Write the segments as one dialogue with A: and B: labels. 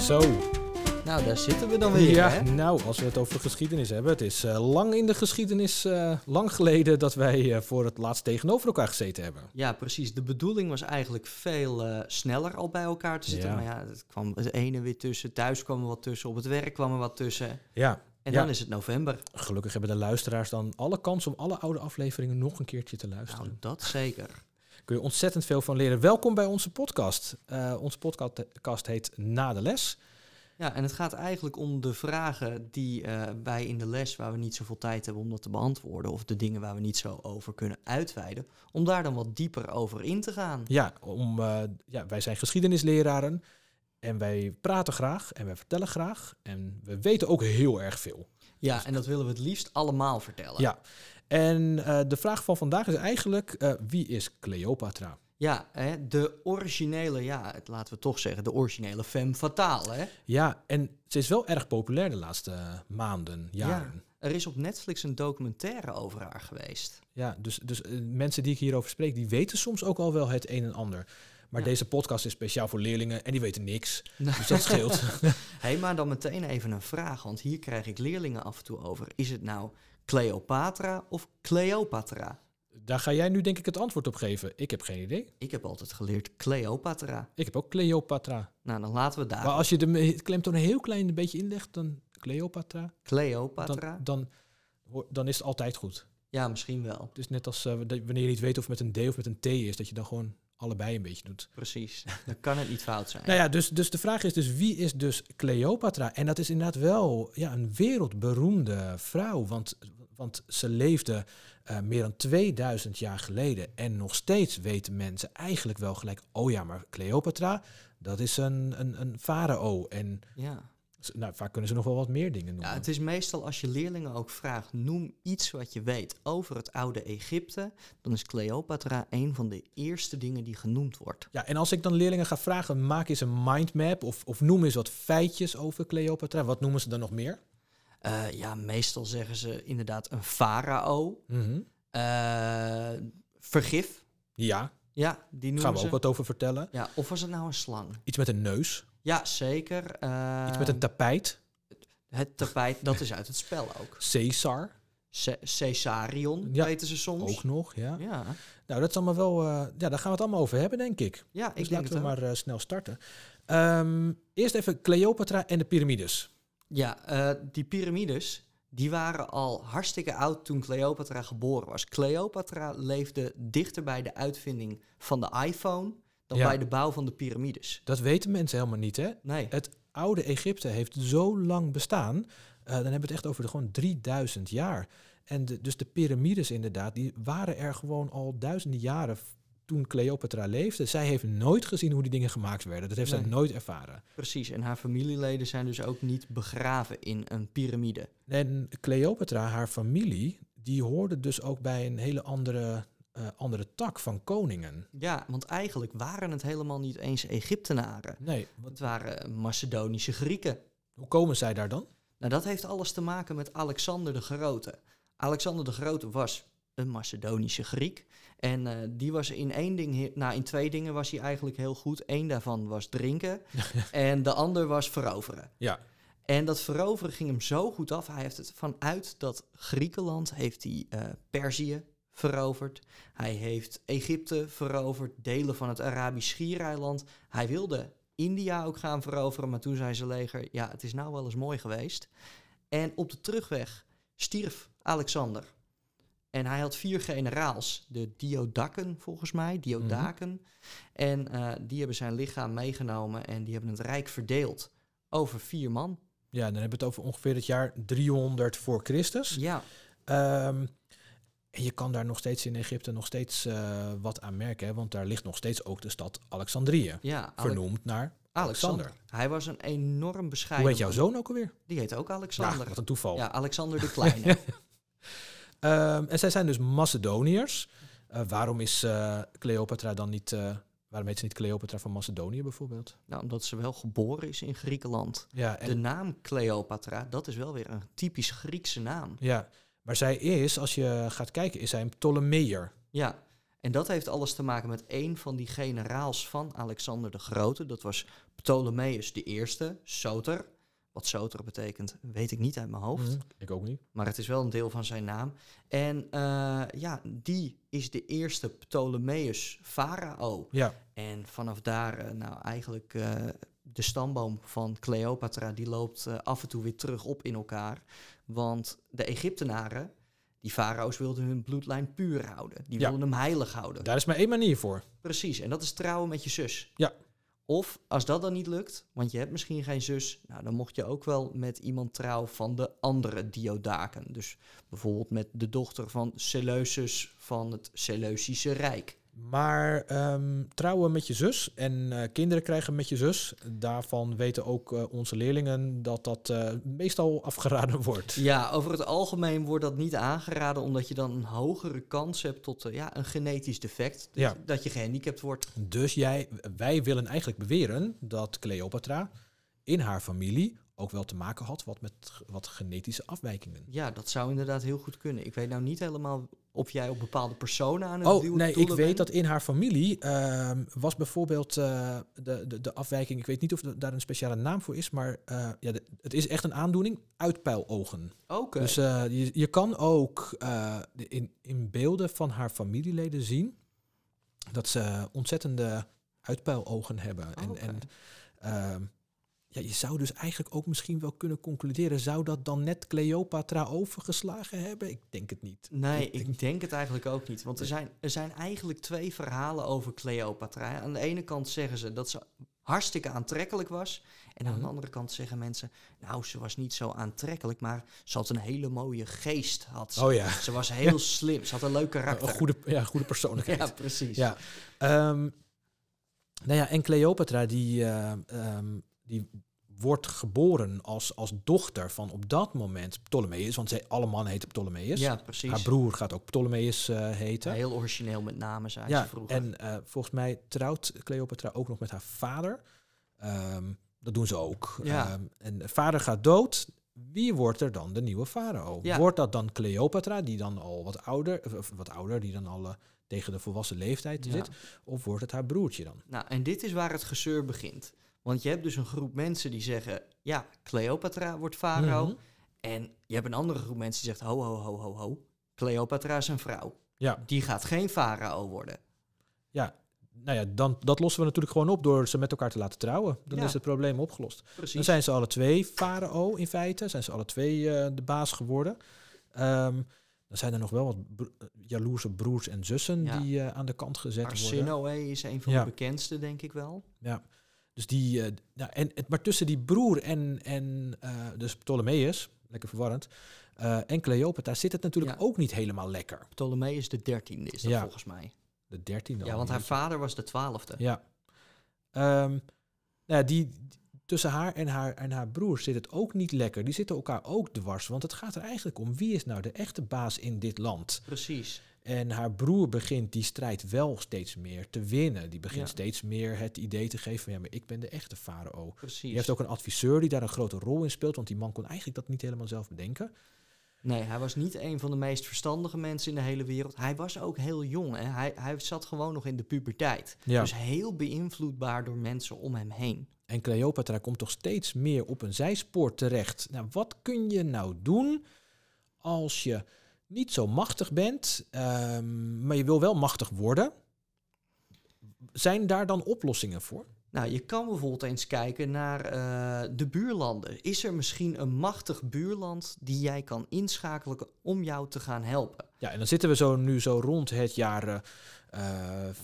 A: Zo,
B: Nou, daar zitten we dan weer.
A: ja,
B: Hè?
A: nou, als we het over geschiedenis hebben. Het is eh, lang in de geschiedenis, eh, lang geleden dat wij eh, voor het laatst tegenover elkaar gezeten hebben.
B: ja, precies. De bedoeling was eigenlijk veel eh, sneller al bij elkaar te zitten.
A: Ja.
B: Maar ja, het kwam het ene weer tussen. Thuis kwam er wat tussen. Op het werk kwam er wat tussen.
A: Ja,
B: En
A: Ja.
B: dan is het november.
A: gelukkig hebben de luisteraars dan alle kans om alle oude afleveringen nog een keertje te luisteren.
B: Nou, dat zeker.
A: kun je ontzettend veel van leren. Welkom bij onze podcast. Eh, onze podcast heet Na de Les.
B: Ja, en het gaat eigenlijk om de vragen die eh, wij in de les, waar we niet zoveel tijd hebben om dat te beantwoorden, of de dingen waar we niet zo over kunnen uitweiden, om daar dan wat dieper over in te gaan.
A: Ja, om, eh, ja, wij zijn geschiedenisleraren en wij praten graag en wij vertellen graag en we weten ook heel erg veel.
B: Ja, en dat willen we het liefst allemaal vertellen.
A: Ja. En eh, de vraag van vandaag is eigenlijk, eh, wie is Cleopatra?
B: Ja, hè, de originele, ja, het, laten we toch zeggen, de originele femme fatale. Hè?
A: Ja, en ze is wel erg populair de laatste eh, maanden, jaren. Ja.
B: Er is op Netflix een documentaire over haar geweest.
A: dus dus eh, mensen die ik hierover spreek, die weten soms ook al wel het een en ander. Maar
B: Ja.
A: deze podcast is speciaal voor leerlingen en die weten niks.
B: Nou.
A: Dus dat scheelt.
B: Hé, maar dan meteen even een vraag, want hier krijg ik leerlingen af en toe over. Is het nou Cleopatra of Cleopatra?
A: Daar ga jij nu denk ik het antwoord op geven. Ik heb geen idee.
B: Ik heb altijd geleerd Cleopatra.
A: Ik heb ook Cleopatra.
B: Nou, dan laten we daar.
A: Maar als je de me- klemtoon een heel klein beetje inlegt, dan Cleopatra,
B: Cleopatra?
A: dan, dan, hoor- dan is het altijd goed.
B: Ja, misschien wel.
A: Het is net als eh, dat wanneer je niet weet of het met een D of met een T is, dat je dan gewoon allebei een beetje doet.
B: Precies. dan kan het niet fout zijn.
A: Nou ja, dus, dus de vraag is dus wie is dus Cleopatra? En dat is inderdaad wel ja, een wereldberoemde vrouw, want, want ze leefde eh, meer dan 2000 jaar geleden. En nog steeds weten mensen eigenlijk wel gelijk, oh ja, maar Cleopatra, dat is een, een, een farao. En
B: Ja.
A: z- nou, vaak kunnen ze nog wel wat meer dingen noemen.
B: Ja, het is meestal als je leerlingen ook vraagt, noem iets wat je weet over het oude Egypte, dan is Cleopatra een van de eerste dingen die genoemd wordt.
A: Ja, en als ik dan leerlingen ga vragen, maak eens een mindmap of, of noem eens wat feitjes over Cleopatra. Wat noemen ze dan nog meer?
B: Eh, ja, meestal zeggen ze inderdaad een farao, Eh, vergif,
A: Mhm. Ja,
B: ja, die noemen
A: gaan we
B: ze.
A: ook wat over vertellen.
B: Ja, of was het nou een slang?
A: Iets met een neus,
B: Ja, zeker. Eh,
A: iets met een tapijt,
B: het tapijt, dat is uit het spel ook.
A: Caesar
B: Ce- Caesarion,
A: Ja,
B: weten ze soms.
A: ook nog. Ja.
B: Ja,
A: Nou, dat is allemaal wel, eh, ja, daar gaan we het allemaal over hebben, denk ik.
B: ja ik
A: dus
B: denk
A: laten
B: het
A: we
B: ook.
A: maar eh, snel starten. Ehm, eerst even Cleopatra en de piramides.
B: Ja, eh, die piramides, die waren al hartstikke oud toen Cleopatra geboren was. Cleopatra leefde dichter bij de uitvinding van de iPhone dan
A: Ja.
B: bij de bouw van de piramides.
A: Dat weten mensen helemaal niet, hè?
B: Nee,
A: Het oude Egypte heeft zo lang bestaan. eh, dan hebben we het echt over de, gewoon 3000 jaar. En de- dus de piramides inderdaad, die waren er gewoon al duizenden jaren v- toen Cleopatra leefde. Zij heeft nooit gezien hoe die dingen gemaakt werden. Dat heeft zij
B: Nee.
A: nooit ervaren.
B: precies. En haar familieleden zijn dus ook niet begraven in een piramide.
A: En Cleopatra, haar familie, die hoorde dus ook bij een hele andere, eh, andere tak van koningen.
B: Ja, want eigenlijk waren het helemaal niet eens Egyptenaren.
A: Nee, wat,
B: Het waren Macedonische Grieken.
A: hoe komen zij daar dan?
B: Nou, dat heeft alles te maken met Alexander de Grote. Alexander de Grote was een Macedonische Griek. En eh, die was in één ding, he- nou in twee dingen was hij eigenlijk heel goed. Eén daarvan was drinken en de ander was veroveren.
A: Ja.
B: En dat veroveren ging hem zo goed af. Hij heeft het vanuit dat Griekenland heeft hij eh, Perzië veroverd. Hij heeft Egypte veroverd, delen van het Arabisch Schiereiland. Hij wilde India ook gaan veroveren, maar toen zei zijn leger: ja, het is nou wel eens mooi geweest. En op de terugweg stierf Alexander. En hij had vier generaals, de Diodakken volgens mij, Diodaken. En eh, die hebben zijn lichaam meegenomen en die hebben het rijk verdeeld over vier man.
A: Ja, dan hebben we het over ongeveer het jaar 300 voor Christus.
B: Ja,
A: Ehm, en je kan daar nog steeds in Egypte nog steeds eh, wat aan merken, hè, want daar ligt nog steeds ook de stad Alexandrië.
B: ja Ale-
A: vernoemd naar Alexander.
B: Hij was een enorm bescheiden.
A: Hoe heet jouw
B: man.
A: zoon Nou, ook alweer?
B: Die heet ook
A: Ja,
B: Alexander.
A: wat een toeval.
B: Ja, Alexander de Kleine.
A: Ehm, en zij zijn dus Macedoniërs. Eh, waarom is eh, Cleopatra dan niet... eh, waarom heet ze niet Cleopatra van Macedonië bijvoorbeeld?
B: nou, omdat ze wel geboren is in Griekenland.
A: Ja, en,
B: De naam Cleopatra, dat is wel weer een typisch Griekse naam.
A: ja, maar zij is, als je gaat kijken, is zij een Ptolemeër.
B: Ja, En dat heeft alles te maken met een van die generaals van Alexander de Grote. Dat was Ptolemeus I, Soter. Wat Soter betekent, weet ik niet uit mijn hoofd.
A: Mhm. Ik ook niet.
B: Maar het is wel een deel van zijn naam. En eh, ja, die is de eerste Ptolemeus farao.
A: Ja,
B: En vanaf daar, eh, nou eigenlijk eh, de stamboom van Cleopatra, die loopt eh, af en toe weer terug op in elkaar. Want de Egyptenaren, die farao's wilden hun bloedlijn puur houden. Die
A: Ja.
B: wilden hem heilig houden.
A: daar is maar één manier voor.
B: Precies, en dat is trouwen met je zus.
A: Ja.
B: Of als dat dan niet lukt, want je hebt misschien geen zus, nou, dan mocht je ook wel met iemand trouwen van de andere diodaken. Dus bijvoorbeeld met de dochter van Seleucus van het Seleusische Rijk.
A: Maar ehm, trouwen met je zus en eh, kinderen krijgen met je zus, daarvan weten ook eh, onze leerlingen dat dat eh, meestal afgeraden wordt.
B: Ja, over het algemeen wordt dat niet aangeraden, omdat je dan een hogere kans hebt tot eh, ja, een genetisch defect. Dus
A: Ja.
B: Dat je gehandicapt wordt.
A: Dus jij, wij willen eigenlijk beweren dat Cleopatra in haar familie ook wel te maken had wat met ge- wat genetische afwijkingen.
B: Ja, dat zou inderdaad heel goed kunnen. Ik weet nou niet helemaal of jij op bepaalde personen aan het
A: Oh,
B: duwen
A: nee, ik
B: doelen
A: weet
B: bent.
A: dat in haar familie ehm, was bijvoorbeeld eh, de, de, de afwijking, ik weet niet of er- daar een speciale naam voor is, maar eh, ja, de- het is echt een aandoening, uitpuilogen.
B: Oké.
A: Dus eh, je, je kan ook eh, de- in, in beelden van haar familieleden zien dat ze ontzettende uitpuilogen hebben. En,
B: Oh, Oké.
A: en ehm, ja, je zou dus eigenlijk ook misschien wel kunnen concluderen, zou dat dan net Cleopatra overgeslagen hebben? Ik denk het niet.
B: Nee,
A: Ik denk-
B: ik denk het eigenlijk ook niet. Want er zijn, er zijn eigenlijk twee verhalen over Cleopatra. Aan de ene kant zeggen ze dat ze hartstikke aantrekkelijk was. En aan
A: Mhm.
B: de andere kant zeggen mensen... nou, ze was niet zo aantrekkelijk, maar ze had een hele mooie geest. Had ze.
A: Oh ja,
B: ze was heel slim, ze had een leuk
A: een
B: karakter.
A: goede, ja, goede persoonlijkheid.
B: ja, precies.
A: Ja. Ehm, nou ja, en Cleopatra die, eh, ehm, die wordt geboren als, als dochter van op dat moment Ptolemeus, want zij, alle mannen heten Ptolemeus.
B: Ja, precies.
A: Haar broer gaat ook Ptolemeus eh, heten.
B: Heel origineel met namen zijn
A: ja,
B: ze vroeger.
A: en eh, volgens mij trouwt Cleopatra ook nog met haar vader. Ehm, dat doen ze ook.
B: Ja.
A: Ehm, en de vader gaat dood. Wie wordt er dan de nieuwe farao?
B: Ja.
A: Wordt dat dan Cleopatra, die dan al wat ouder, of- of wat ouder, die dan al eh, tegen de volwassen leeftijd
B: Ja.
A: zit? Of wordt het haar broertje dan?
B: Nou, en dit is waar het gezeur begint. Want je hebt dus een groep mensen die zeggen... ja, Cleopatra wordt farao.
A: Mhm.
B: En je hebt een andere groep mensen die zegt: ho, ho, ho, ho, ho. Cleopatra is een vrouw.
A: Ja,
B: Die gaat geen farao worden.
A: nou ja, dan, dat lossen we natuurlijk gewoon op door ze met elkaar te laten trouwen. Dan
B: Ja.
A: is het probleem opgelost. Dan
B: Precies.
A: zijn ze alle twee farao in feite. Zijn ze alle twee eh, de baas geworden. Ehm, dan zijn er nog wel wat bro- eh, jaloerse broers en zussen
B: Ja.
A: die eh, aan de kant gezet worden.
B: Arsinoe is een van
A: Ja.
B: de bekendste, denk ik wel.
A: Dus die, eh, nou, en, het- maar tussen die broer en, en eh, dus Ptolemeus, lekker verwarrend, eh, en Cleopatra zit het natuurlijk
B: Ja.
A: ook niet helemaal lekker.
B: Ptolemeus de dertiende is dat
A: Ja.
B: volgens mij.
A: De dertiende.
B: Ja,
A: al
B: want
A: niet.
B: haar vader was de twaalfde.
A: Ja. Ehm, nou ja, die, tussen haar en, haar en haar broer zit het ook niet lekker. Die zitten elkaar ook dwars. Want het gaat er eigenlijk om wie is nou de echte baas in dit land.
B: Precies.
A: En haar broer begint die strijd wel steeds meer te winnen. Die begint
B: Ja.
A: steeds meer het idee te geven van ja, maar ik ben de echte farao.
B: Precies.
A: Je hebt ook een adviseur die daar een grote rol in speelt, want die man kon eigenlijk dat niet helemaal zelf bedenken.
B: Nee, hij was niet een van de meest verstandige mensen in de hele wereld. Hij was ook heel jong. Hè. Hij, hij zat gewoon nog in de puberteit.
A: Ja.
B: Dus heel beïnvloedbaar door mensen om hem heen.
A: En Cleopatra komt toch steeds meer op een zijspoor terecht. Nou, wat kun je nou doen als je niet zo machtig bent, ehm, maar je wil wel machtig worden? Zijn daar dan oplossingen voor?
B: Nou, je kan bijvoorbeeld eens kijken naar eh, de buurlanden. Is er misschien een machtig buurland die jij kan inschakelen om jou te gaan helpen?
A: Ja, en dan zitten we zo nu zo rond het jaar eh, eh,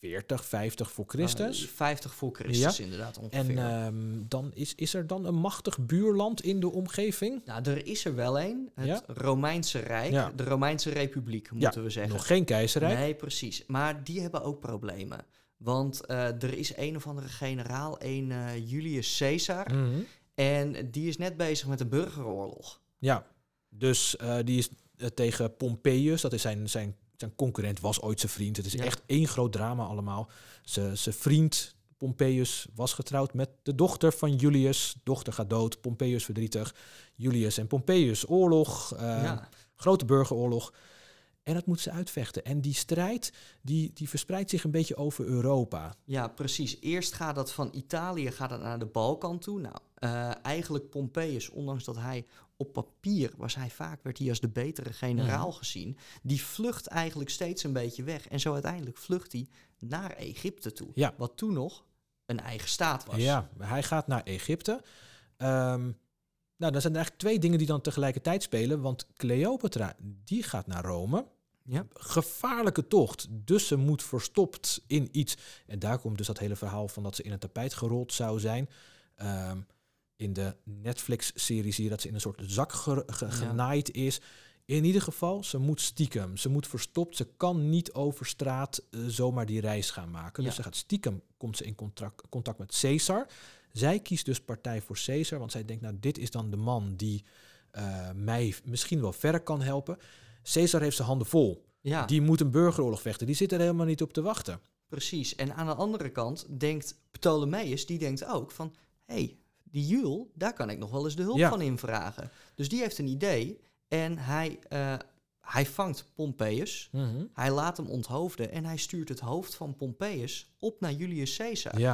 A: 40, 50 voor
B: Eh,
A: Christus.
B: 50 voor Christus inderdaad ongeveer.
A: En ehm, dan is, is er dan een machtig buurland in de omgeving?
B: nou, er is er wel een. Het
A: Ja?
B: Romeinse Rijk.
A: Ja.
B: De Romeinse Republiek, moeten we zeggen.
A: Nog geen keizerrijk?
B: Nee, precies. Maar die hebben ook problemen. Want eh, er is een of andere generaal, een eh, Julius Caesar.
A: Mhm.
B: En die is net bezig met een burgeroorlog.
A: Ja, dus eh, die is eh, tegen Pompeius, dat is zijn, zijn, zijn concurrent, was ooit zijn vriend. Het is
B: Ja.
A: echt één groot drama allemaal. Ze- Zijn vriend Pompeius was getrouwd met de dochter van Julius. Dochter gaat dood, Pompeius verdrietig. Julius en Pompeius, oorlog, eh,
B: ja.
A: grote burgeroorlog. En dat moet ze uitvechten. En die strijd die, die verspreidt zich een beetje over Europa.
B: Ja, precies. Eerst gaat dat van Italië gaat dat naar de Balkan toe. Nou, eh, eigenlijk Pompeius, ondanks dat hij op papier was hij vaak, werd hij als de betere generaal gezien. Die vlucht eigenlijk steeds een beetje weg. En zo uiteindelijk vlucht hij naar Egypte toe.
A: Ja.
B: Wat toen nog een eigen staat was.
A: Ja, hij gaat naar Egypte. Ehm, nou, dan zijn er eigenlijk twee dingen die dan tegelijkertijd spelen. Want Cleopatra, die gaat naar Rome.
B: Ja.
A: Gevaarlijke tocht. Dus ze moet verstopt in iets. En daar komt dus dat hele verhaal van dat ze in een tapijt gerold zou zijn. Ehm, in de Netflix-serie zie je dat ze in een soort zak ge- ge-
B: Ja.
A: genaaid is. In ieder geval, ze moet stiekem. Ze moet verstopt. Ze kan niet over straat eh, zomaar die reis gaan maken. Dus
B: Ja.
A: ze gaat stiekem, komt ze in contract, contact met Caesar. Zij kiest dus partij voor Caesar, want zij denkt, nou, dit is dan de man die eh, mij misschien wel verder kan helpen. Caesar heeft zijn handen vol.
B: Ja.
A: Die moet een burgeroorlog vechten. Die zit er helemaal niet op te wachten.
B: Precies. En aan de andere kant denkt Ptolemeus, die denkt ook van... hé, hey, die Jules, daar kan ik nog wel eens de hulp
A: Ja.
B: van invragen. Dus die heeft een idee en hij, eh, hij vangt Pompeius. Hij laat hem onthoofden en hij stuurt het hoofd van Pompeius op naar Julius Caesar.
A: Ja.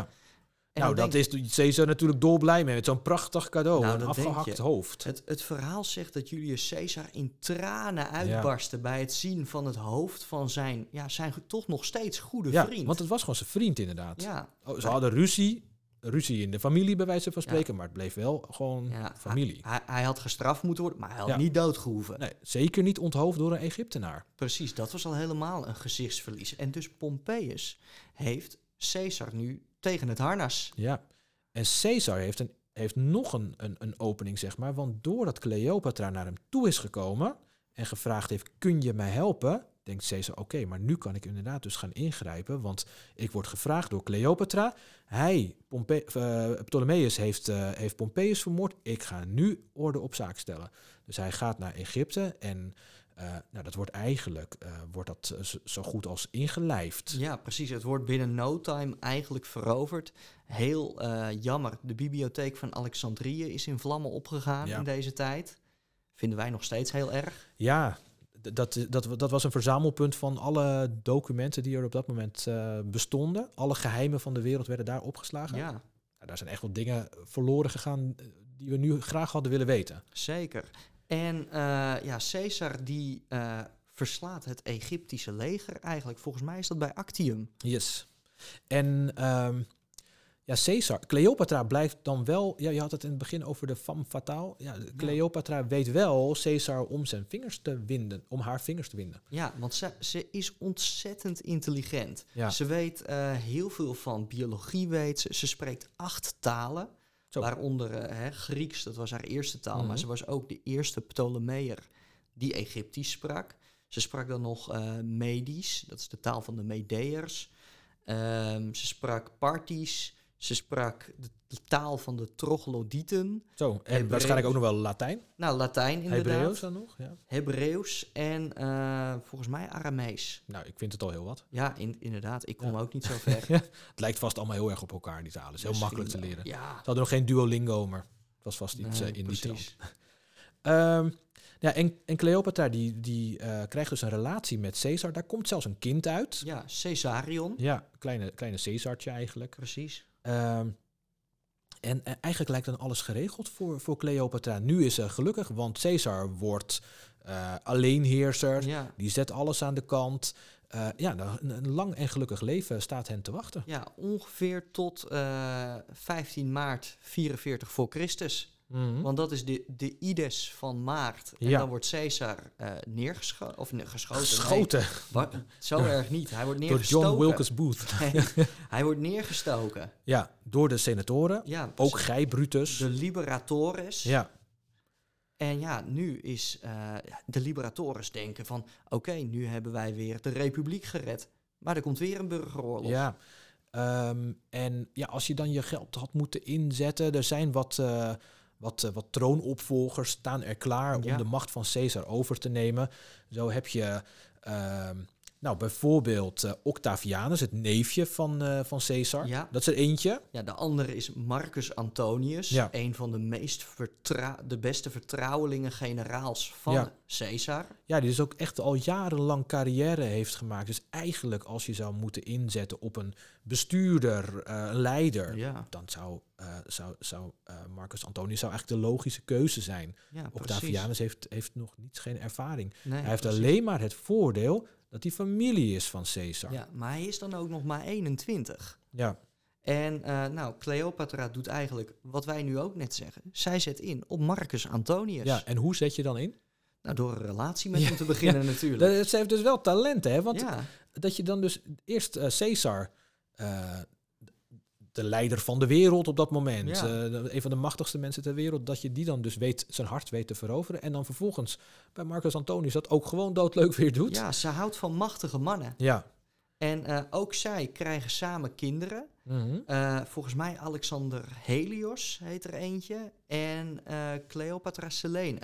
B: En dan
A: nou, dat
B: denk-
A: is Caesar natuurlijk dolblij mee. Met zo'n prachtig cadeau.
B: Nou,
A: een
B: dat denk
A: afgehakt
B: je.
A: hoofd.
B: Het, het verhaal zegt dat Julius Caesar in tranen uitbarstte bij het zien van het hoofd van zijn, ja, zijn toch nog steeds goede
A: ja,
B: vriend.
A: want het was gewoon zijn vriend inderdaad.
B: ja,
A: Oh, ze hadden ruzie. Ruzie in de familie, bij wijze van
B: Ja.
A: spreken. Maar het bleef wel gewoon
B: ja,
A: familie.
B: Hij, hij had gestraft moeten worden, maar hij had
A: Ja.
B: niet doodgehoeven.
A: Nee, zeker niet onthoofd door een Egyptenaar.
B: Precies, dat was al helemaal een gezichtsverlies. En dus Pompeius heeft Caesar nu tegen het harnas.
A: Ja. En Caesar heeft, een, heeft nog een, een, een opening, zeg maar. Want doordat Cleopatra naar hem toe is gekomen en gevraagd heeft: kun je mij helpen? Denkt Caesar, oké, maar nu kan ik inderdaad dus gaan ingrijpen. Want ik word gevraagd door Cleopatra. Hij, Pompe eh, Ptolemeus, heeft, eh, heeft Pompeius vermoord. Ik ga nu orde op zaak stellen. Dus hij gaat naar Egypte en eh, nou, dat wordt eigenlijk eh, wordt dat eh, zo- zo goed als ingelijfd.
B: Ja, precies. Het wordt binnen no time eigenlijk veroverd. Heel eh, jammer. De bibliotheek van Alexandrië is in vlammen opgegaan
A: Ja.
B: in deze tijd. Vinden wij nog steeds heel erg.
A: Ja, d- dat, eh, dat, dat was een verzamelpunt van alle documenten die er op dat moment eh, bestonden. Alle geheimen van de wereld werden daar opgeslagen.
B: Ja,
A: Nou, daar zijn echt wel dingen verloren gegaan eh, die we nu graag hadden willen weten.
B: zeker. En eh, ja, Caesar die eh, verslaat het Egyptische leger eigenlijk. Volgens mij is dat bij Actium.
A: Yes. En ehm, ja, Caesar, Cleopatra blijft dan wel... Ja, je had het in het begin over de femme fatale. Ja, Cleopatra weet wel Caesar om zijn vingers te winden. Om haar vingers te winden.
B: Ja, want ze, ze is ontzettend intelligent.
A: Ja.
B: Ze weet eh, heel veel van biologie, weet ze. Ze spreekt acht talen,
A: Zo.
B: waaronder eh, hè, Grieks, dat was haar eerste taal.
A: Mhm.
B: Maar ze was ook de eerste Ptolemeër die Egyptisch sprak. Ze sprak dan nog eh, Medisch, dat is de taal van de Medeërs. Ehm, ze sprak Partisch, ze sprak de, de taal van de Troglodyten.
A: Zo, en
B: Hebreeuws.
A: waarschijnlijk ook nog wel Latijn.
B: Nou, Latijn
A: Hebreeuws
B: inderdaad.
A: dan nog, ja.
B: Hebreeuws en eh, volgens mij Aramees.
A: Nou, ik vind het al heel wat.
B: Ja, in- inderdaad. Ik kom
A: Ja.
B: ook niet zo ver.
A: Het lijkt vast allemaal heel erg op elkaar, die talen. Het is heel
B: Misschien
A: makkelijk te
B: wel.
A: leren.
B: Ja,
A: Ze hadden nog geen Duolingo, maar het was vast iets
B: nee,
A: eh, in die trant.
B: precies.
A: Ehm, ja, en, en Cleopatra die, die, eh, krijgt dus een relatie met Caesar. Daar komt zelfs een kind uit.
B: Ja, Caesarion.
A: Ja, kleine, kleine Caesartje eigenlijk.
B: Precies.
A: Ehm, en eh, eigenlijk lijkt dan alles geregeld voor, voor Cleopatra. Nu is ze gelukkig, want Caesar wordt eh, alleenheerser.
B: Ja.
A: Die zet alles aan de kant. Eh, ja, nou, een, een lang en gelukkig leven staat hen te wachten.
B: ja, ongeveer tot eh, 15 maart 44 voor Christus.
A: Mhm.
B: Want dat is de, de Ides van maart. En
A: Ja.
B: dan wordt Caesar eh neergeschoten. Of ne- geschoten. nee.
A: Geschoten
B: Wat? zo erg niet. Hij wordt
A: door
B: neergestoken.
A: John Wilkes Booth.
B: Nee, hij wordt neergestoken.
A: Ja, door de senatoren.
B: Ja,
A: Ook gij, Brutus.
B: de liberatores.
A: Ja,
B: En ja, nu is eh, de liberatoren denken van... oké, nu hebben wij weer de republiek gered. Maar er komt weer een burgeroorlog.
A: ja. Ehm, en ja, als je dan je geld had moeten inzetten, er zijn wat, eh, wat, eh, wat troonopvolgers staan er klaar om
B: Ja.
A: de macht van Caesar over te nemen. Zo heb je ehm, Nou, bijvoorbeeld eh, Octavianus, het neefje van, eh, van Caesar.
B: Ja.
A: Dat is er eentje.
B: Ja, de andere is Marcus Antonius,
A: Ja.
B: een van de, meest vertra- de beste vertrouwelingen-generaals van
A: Ja.
B: Caesar.
A: Ja, die dus ook echt al jarenlang carrière heeft gemaakt. Dus eigenlijk als je zou moeten inzetten op een bestuurder, eh, een leider...
B: Ja,
A: dan zou, eh, zou, zou eh, Marcus Antonius zou eigenlijk de logische keuze zijn.
B: ja precies.
A: Octavianus heeft, heeft nog niets, geen ervaring.
B: Nee,
A: hij heeft
B: precies.
A: alleen maar het voordeel dat hij familie is van Caesar.
B: Ja, maar hij is dan ook nog maar 21.
A: ja.
B: En eh, nou, Cleopatra doet eigenlijk wat wij nu ook net zeggen. Zij zet in op Marcus Antonius.
A: Ja, en hoe zet je dan in?
B: Nou, door een relatie met
A: Ja,
B: hem te beginnen natuurlijk.
A: Dat, ze heeft dus wel talent, hè? Want
B: ja,
A: dat je dan dus eerst eh, Caesar, eh, de leider van de wereld op dat moment,
B: Ja.
A: eh, de- een van de machtigste mensen ter wereld, dat je die dan dus weet, zijn hart weet te veroveren. En dan vervolgens bij Marcus Antonius dat ook gewoon doodleuk weer doet.
B: ja, ze houdt van machtige mannen.
A: Ja.
B: En eh, ook zij krijgen samen kinderen.
A: Mhm.
B: Eh, volgens mij Alexander Helios heet er eentje. En eh, Cleopatra Selene.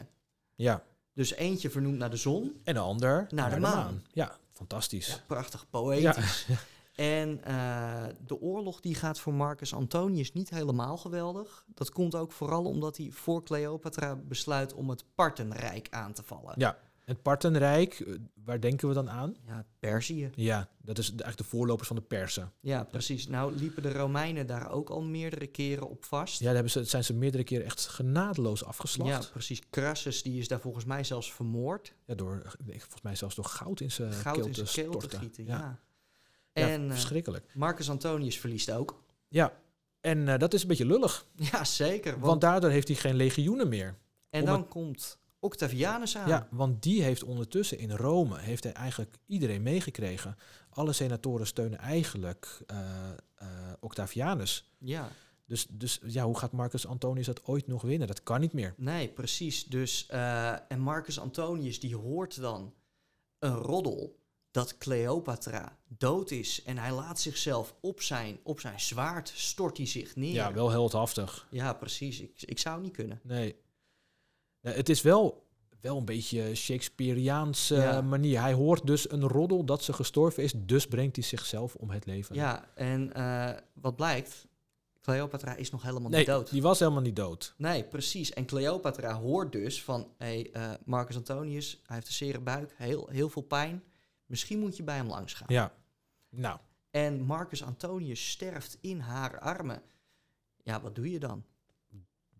A: ja.
B: Dus eentje vernoemd naar de zon.
A: En de ander naar,
B: de maan.
A: Ja, fantastisch.
B: Ja, prachtig poëtisch. En eh, de oorlog die gaat voor Marcus Antonius niet helemaal geweldig. Dat komt ook vooral omdat hij voor Cleopatra besluit om het Parthenrijk aan te vallen.
A: Ja. Het Parthenrijk, eh, waar denken we dan aan?
B: Ja, Perzië.
A: Ja, dat is de- eigenlijk de voorlopers van de Persen.
B: Ja, precies. Nou liepen de Romeinen daar ook al meerdere keren op vast.
A: Ja, daar hebben ze, zijn ze meerdere keren echt genadeloos
B: Ja,
A: afgeslacht.
B: precies. Crassus die is daar volgens mij zelfs vermoord.
A: Ja, door, ik- volgens mij zelfs door goud in zijn
B: goud
A: eh, keel
B: in
A: te
B: zijn keel te
A: storten.
B: gieten.
A: Ja.
B: Ja.
A: Ja,
B: En eh,
A: verschrikkelijk.
B: Marcus Antonius verliest ook.
A: Ja, en eh, dat is een beetje lullig,
B: Ja, zeker. Want,
A: want, daardoor heeft hij geen legioenen meer.
B: en
A: om
B: dan komt Octavianus aan.
A: Ja, want die heeft ondertussen in Rome, heeft hij eigenlijk iedereen meegekregen. Alle senatoren steunen eigenlijk eh, eh, Octavianus.
B: Ja.
A: Dus, dus ja, hoe gaat Marcus Antonius dat ooit nog winnen? Dat kan niet meer.
B: Nee, precies. Dus, eh, en Marcus Antonius die hoort dan een roddel dat Cleopatra dood is. En hij laat zichzelf op zijn, op zijn zwaard, stort hij zich neer.
A: Ja, wel heldhaftig.
B: Ja, precies. Ik, ik zou niet kunnen.
A: Nee. Eh, het is wel, wel een beetje Shakespeareaanse eh,
B: Ja.
A: manier. Hij hoort dus een roddel dat ze gestorven is, dus brengt hij zichzelf om het leven.
B: Ja, en eh, wat blijkt? Cleopatra is nog helemaal
A: nee,
B: niet dood.
A: die was helemaal niet dood.
B: Nee, precies. En Cleopatra hoort dus van... hey, eh, Marcus Antonius, hij heeft een zere buik, heel, heel veel pijn. Misschien moet je bij hem langs gaan.
A: Ja. Nou,
B: En Marcus Antonius sterft in haar armen. Ja, wat doe je dan?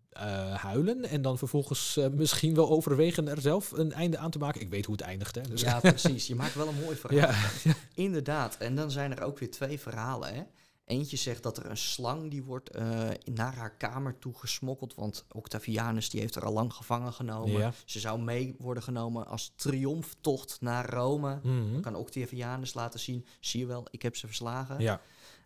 A: eh, huilen en dan vervolgens eh, misschien wel overwegen er zelf een einde aan te maken. Ik weet hoe het eindigt, hè. Dus,
B: Ja, precies. Je maakt wel een mooi verhaal.
A: ja.
B: Inderdaad. En dan zijn er ook weer twee verhalen, hè. Eentje zegt dat er een slang die wordt eh, naar haar kamer toe gesmokkeld. Want Octavianus die heeft haar al lang gevangen genomen.
A: Ja.
B: Ze zou mee worden genomen als triomftocht naar Rome.
A: Mhm.
B: kan Octavianus laten zien. Zie je wel, ik heb ze verslagen.
A: ja.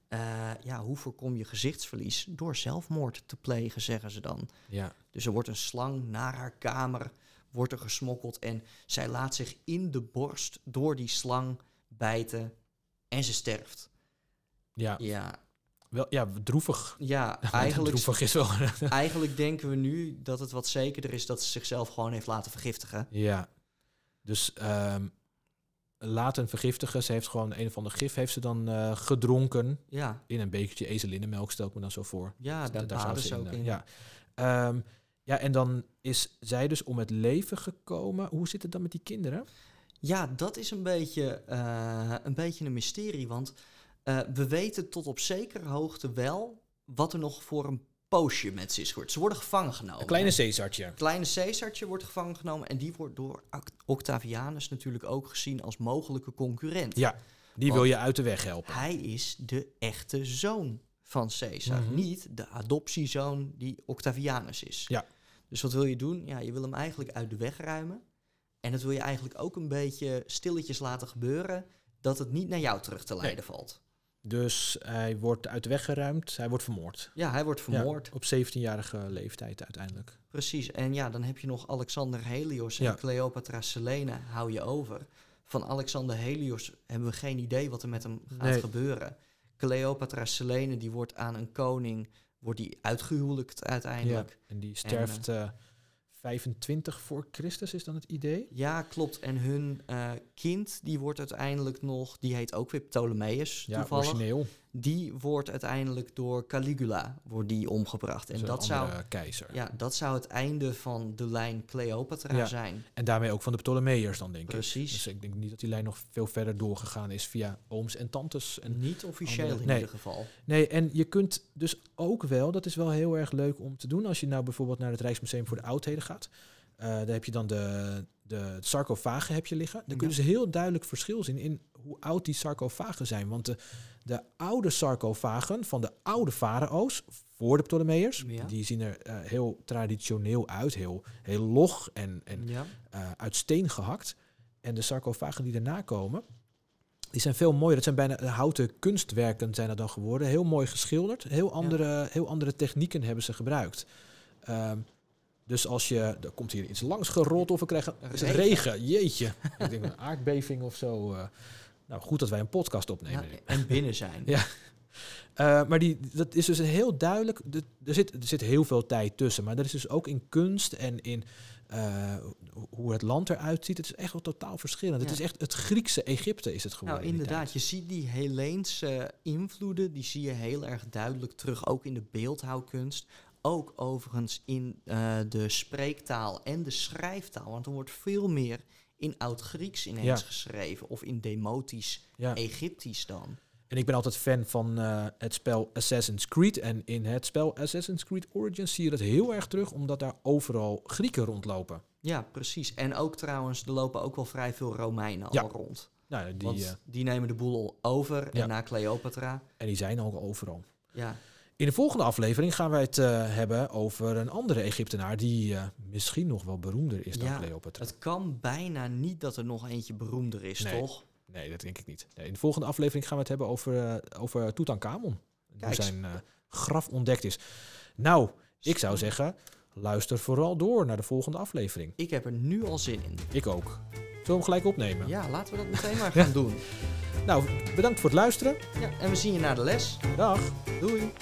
B: Eh, ja, hoe voorkom je gezichtsverlies? Door zelfmoord te plegen, zeggen ze dan.
A: Ja.
B: Dus er wordt een slang naar haar kamer, wordt er gesmokkeld en zij laat zich in de borst door die slang bijten en ze sterft.
A: Ja.
B: Ja,
A: Wel, ja, droevig.
B: ja eigenlijk,
A: Droevig is wel...
B: eigenlijk denken we nu dat het wat zekerder is dat ze zichzelf gewoon heeft laten vergiftigen.
A: Ja. Dus ehm laten vergiftigen. Ze heeft gewoon een of ander gif heeft ze dan eh, gedronken.
B: Ja,
A: In een bekertje ezelinnenmelk stel ik me dan zo voor.
B: ja daar,
A: zou
B: baden ze ook
A: eh,
B: in.
A: Ja. Ehm, ja, en dan is zij dus om het leven gekomen. Hoe zit het dan met die kinderen?
B: Ja, dat is een beetje, eh, een, beetje een mysterie. Want eh, we weten tot op zekere hoogte wel wat er nog voor een poosje met ze is gebeurd. Ze worden gevangen genomen.
A: Een kleine Caesartje.
B: Een kleine Caesartje wordt gevangen genomen. En die wordt door Act- Octavianus natuurlijk ook gezien als mogelijke concurrent.
A: Ja,
B: Oh.
A: die wil je uit de weg helpen.
B: Hij is de echte zoon van Caesar.
A: Mhm.
B: Niet de adoptiezoon die Octavianus is.
A: Ja.
B: Dus wat wil je doen? Ja, je wil hem eigenlijk uit de weg ruimen. En dat wil je eigenlijk ook een beetje stilletjes laten gebeuren. Dat het niet naar jou terug te leiden valt.
A: Dus hij wordt uit de weg geruimd. Hij wordt vermoord.
B: Ja, hij wordt vermoord.
A: Ja, op 17-jarige leeftijd uiteindelijk.
B: Precies. En ja, dan heb je nog Alexander Helios en
A: Ja.
B: Cleopatra Selene hou je over. Van Alexander Helios hebben we geen idee wat er met hem gaat
A: Nee.
B: gebeuren. Cleopatra Selene die wordt aan een koning wordt die uitgehuwelijkt uiteindelijk.
A: Ja. En die sterft eh, 25 voor Christus is dan het idee.
B: Ja, klopt. En hun eh, kind, die wordt uiteindelijk nog, die heet ook weer Ptolemeus
A: Ja,
B: toevallig.
A: origineel.
B: Die wordt uiteindelijk door Caligula wordt die omgebracht. En
A: Dus een
B: dat zou,
A: andere keizer.
B: ja, dat zou het einde van de lijn Cleopatra
A: Ja.
B: zijn.
A: En daarmee ook van de Ptolemeërs dan, denk ik.
B: Precies.
A: Dus ik denk niet dat die lijn nog veel verder doorgegaan is via ooms en tantes. En
B: Niet officieel
A: andere-
B: in
A: nee.
B: ieder geval.
A: Nee, en je kunt dus ook wel, dat is wel heel erg leuk om te doen, als je nou bijvoorbeeld naar het Rijksmuseum voor de Oudheden gaat. eh, daar heb je dan de, de sarcofagen heb je liggen. Dan kun je dus heel duidelijk verschil zien in hoe oud die sarcofagen zijn. Want de, de oude sarcofagen van de oude farao's, voor de Ptolemeërs,
B: Ja.
A: die zien er eh, heel traditioneel uit. Heel, heel log en, en
B: Ja.
A: eh, uit steen gehakt. En de sarcofagen die daarna komen, die zijn veel mooier. Dat zijn bijna eh, houten kunstwerken zijn dat dan geworden. Heel mooi geschilderd. Heel andere, heel andere technieken hebben ze gebruikt. Ehm, dus als je... Er komt hier iets langs gerold of we krijgen regen.
B: Regen.
A: Jeetje. Ik denk een aardbeving of zo. eh. nou, goed dat wij een podcast opnemen.
B: Ja, Nou, en binnen zijn. Nou,
A: Ja. Eh, maar die, dat is dus een heel duidelijk. de- Er zit, er zit heel veel tijd tussen. Maar dat is dus ook in kunst en in eh, ho- hoe het land eruit ziet. Het is echt wel totaal verschillend. Het
B: Ja.
A: is echt het Griekse Egypte is het geworden.
B: Nou,
A: in die
B: inderdaad.
A: tijd.
B: Je ziet die Heleense invloeden, die zie je heel erg duidelijk terug, ook in de beeldhouwkunst. Ook overigens in eh, de spreektaal en de schrijftaal. Want er wordt veel meer in Oud-Grieks ineens
A: Ja.
B: geschreven. Of in Demotisch
A: Ja.
B: Egyptisch dan.
A: En ik ben altijd fan van eh, het spel Assassin's Creed. En in het spel Assassin's Creed Origins zie je dat heel erg terug, omdat daar overal Grieken rondlopen.
B: Ja, precies. En ook trouwens, er lopen ook wel vrij veel Romeinen
A: Ja.
B: al rond.
A: Nou, die,
B: Want
A: eh,
B: die nemen de boel al over.
A: Ja.
B: En na Cleopatra.
A: en die zijn ook overal.
B: Ja,
A: In de volgende aflevering gaan wij het eh, hebben over een andere Egyptenaar die eh, misschien nog wel beroemder is dan
B: Ja,
A: Cleopatra.
B: het kan bijna niet dat er nog eentje beroemder is,
A: Nee.
B: toch?
A: Nee, dat denk ik niet. Nee, in de volgende aflevering gaan we het hebben over, eh, over Tutankhamon. Hoe
B: Kijk.
A: zijn eh, graf ontdekt is. Nou, ik zou zeggen, luister vooral door naar de volgende aflevering.
B: Ik heb er nu al zin in.
A: Ik ook. Zullen we hem gelijk opnemen?
B: Ja, laten we dat meteen maar gaan doen.
A: Nou, bedankt voor het luisteren.
B: Ja, en we zien je na de les.
A: Dag.
B: Doei!